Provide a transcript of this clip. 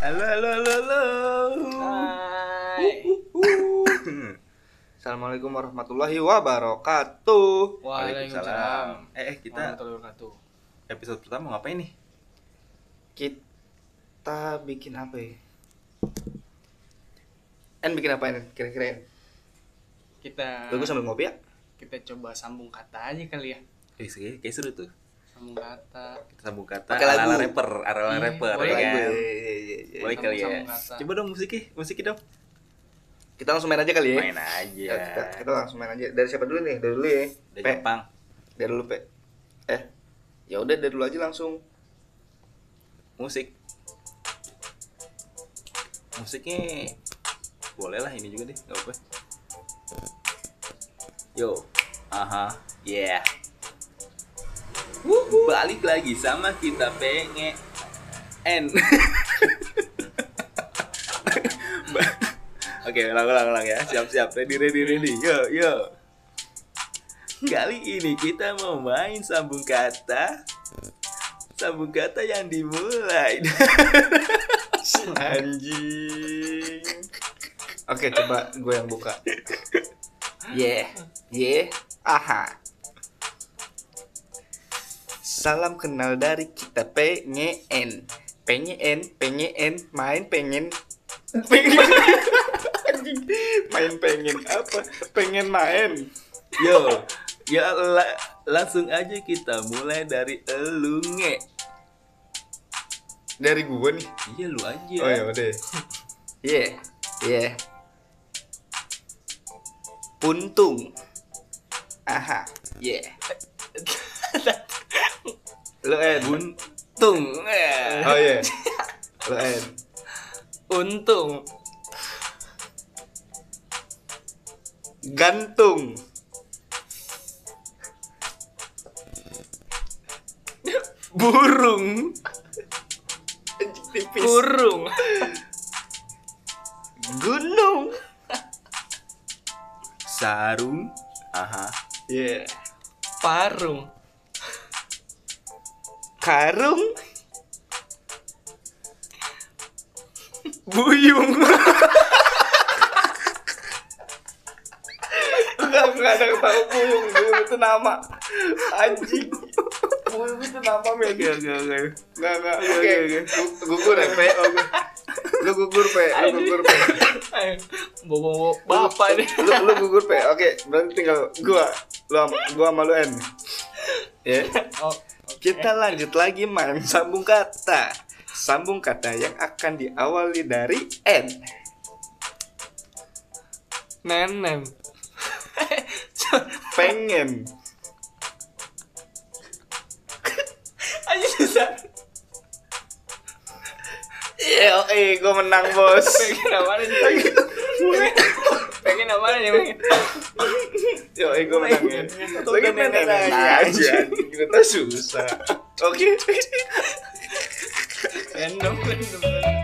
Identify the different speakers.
Speaker 1: Halo, halo, halo, halo.
Speaker 2: Hai.
Speaker 1: Assalamualaikum warahmatullahi wabarakatuh.
Speaker 2: Waalaikumsalam.
Speaker 1: Eh, eh, kita
Speaker 2: Warahmatullahi wabarakatuh.
Speaker 1: episode pertama ngapain nih? Kita bikin apa ya? En bikin apa En? Kira-kira En?
Speaker 2: Hmm. Kita
Speaker 1: Bagus sambil ngopi ya?
Speaker 2: kita coba sambung kata aja kali ya.
Speaker 3: Eh, sih, kayak seru tuh.
Speaker 2: Sambung kata.
Speaker 3: Kita sambung kata
Speaker 1: Pakai
Speaker 3: ala
Speaker 1: lagu.
Speaker 3: rapper, ala
Speaker 2: Iya,
Speaker 3: rapper ya
Speaker 2: boleh
Speaker 3: kan.
Speaker 1: Lagu. Iya, iya, iya, iya.
Speaker 3: Boleh kali ya.
Speaker 2: Sambung-sambung kata.
Speaker 3: Coba dong musiknya, musiknya dong.
Speaker 1: Kita langsung main aja kali ya?
Speaker 3: Main
Speaker 1: Ya,
Speaker 3: aja.
Speaker 1: kita, kita langsung main aja. Dari siapa dulu nih? Dari dulu ya?
Speaker 3: Dari
Speaker 1: Pe.
Speaker 3: Jepang.
Speaker 1: Dari dulu, Pe. Eh, ya udah dari dulu aja langsung.
Speaker 3: Musik. Musiknya boleh lah ini juga deh, enggak apa-apa. Yo. Aha. Yeah. Balik lagi sama kita pengen N. Ba- Oke, ulang ulang ulang ya. Siap-siap. Ready ready ready. Yo yo. Kali ini kita mau main sambung kata. Sambung kata yang dimulai.
Speaker 1: Anjing. Oke, coba gue yang buka. Yeah, yeah, aha. Salam kenal dari kita pengen, pengen, pengen, main pengen, pengen. Anjing. main pengen apa? Pengen main.
Speaker 3: Yo. Ya la- langsung aja kita mulai dari elu nge.
Speaker 1: Dari gue nih.
Speaker 3: Iya lu aja.
Speaker 1: Oh ya udah. Yeah, yeah. Puntung. Aha, yeah. Lo en.
Speaker 3: Buntung. Eh.
Speaker 1: Oh iya. Lo en.
Speaker 2: Untung.
Speaker 1: Gantung.
Speaker 3: Burung.
Speaker 2: Kurung.
Speaker 1: Gunung.
Speaker 3: Sarung. Aha.
Speaker 1: Yeah.
Speaker 2: Parung.
Speaker 1: Karung. Buyung. Enggak, enggak ada yang tahu buyung. Buyung itu nama. Anjing. Buyung itu nama, men.
Speaker 3: Oke Iya, oke oke.
Speaker 1: Enggak, enggak.
Speaker 3: Oke,
Speaker 1: Oke,
Speaker 3: oke.
Speaker 1: Gu- Gugur, ya, Pe. Oh, gue. Lu gugur, Pe. Lu gugur, Pe.
Speaker 2: Ayo, Bobo
Speaker 1: Lu-
Speaker 2: bapak nih.
Speaker 1: Lu, lu gugur, Pe. Oke, berarti tinggal gua. Lu, am- gua sama lu, N. Ya.
Speaker 2: Oh,
Speaker 3: Eh.
Speaker 1: Kita lanjut lagi main sambung kata. Sambung kata yang akan diawali dari N.
Speaker 2: nenem.
Speaker 1: Pengen.
Speaker 2: Aja bisa.
Speaker 1: Iya, eh, gue menang bos.
Speaker 2: Pengen apaan aja. Pengen apaan aja. pengen.
Speaker 1: Yo, eh, gue menang. ya.
Speaker 3: Atau
Speaker 1: Lagi
Speaker 3: udah
Speaker 1: pengen
Speaker 3: nenek-nenek
Speaker 1: aja.
Speaker 3: aja.
Speaker 1: Kita susah. Oke.
Speaker 2: Random, random.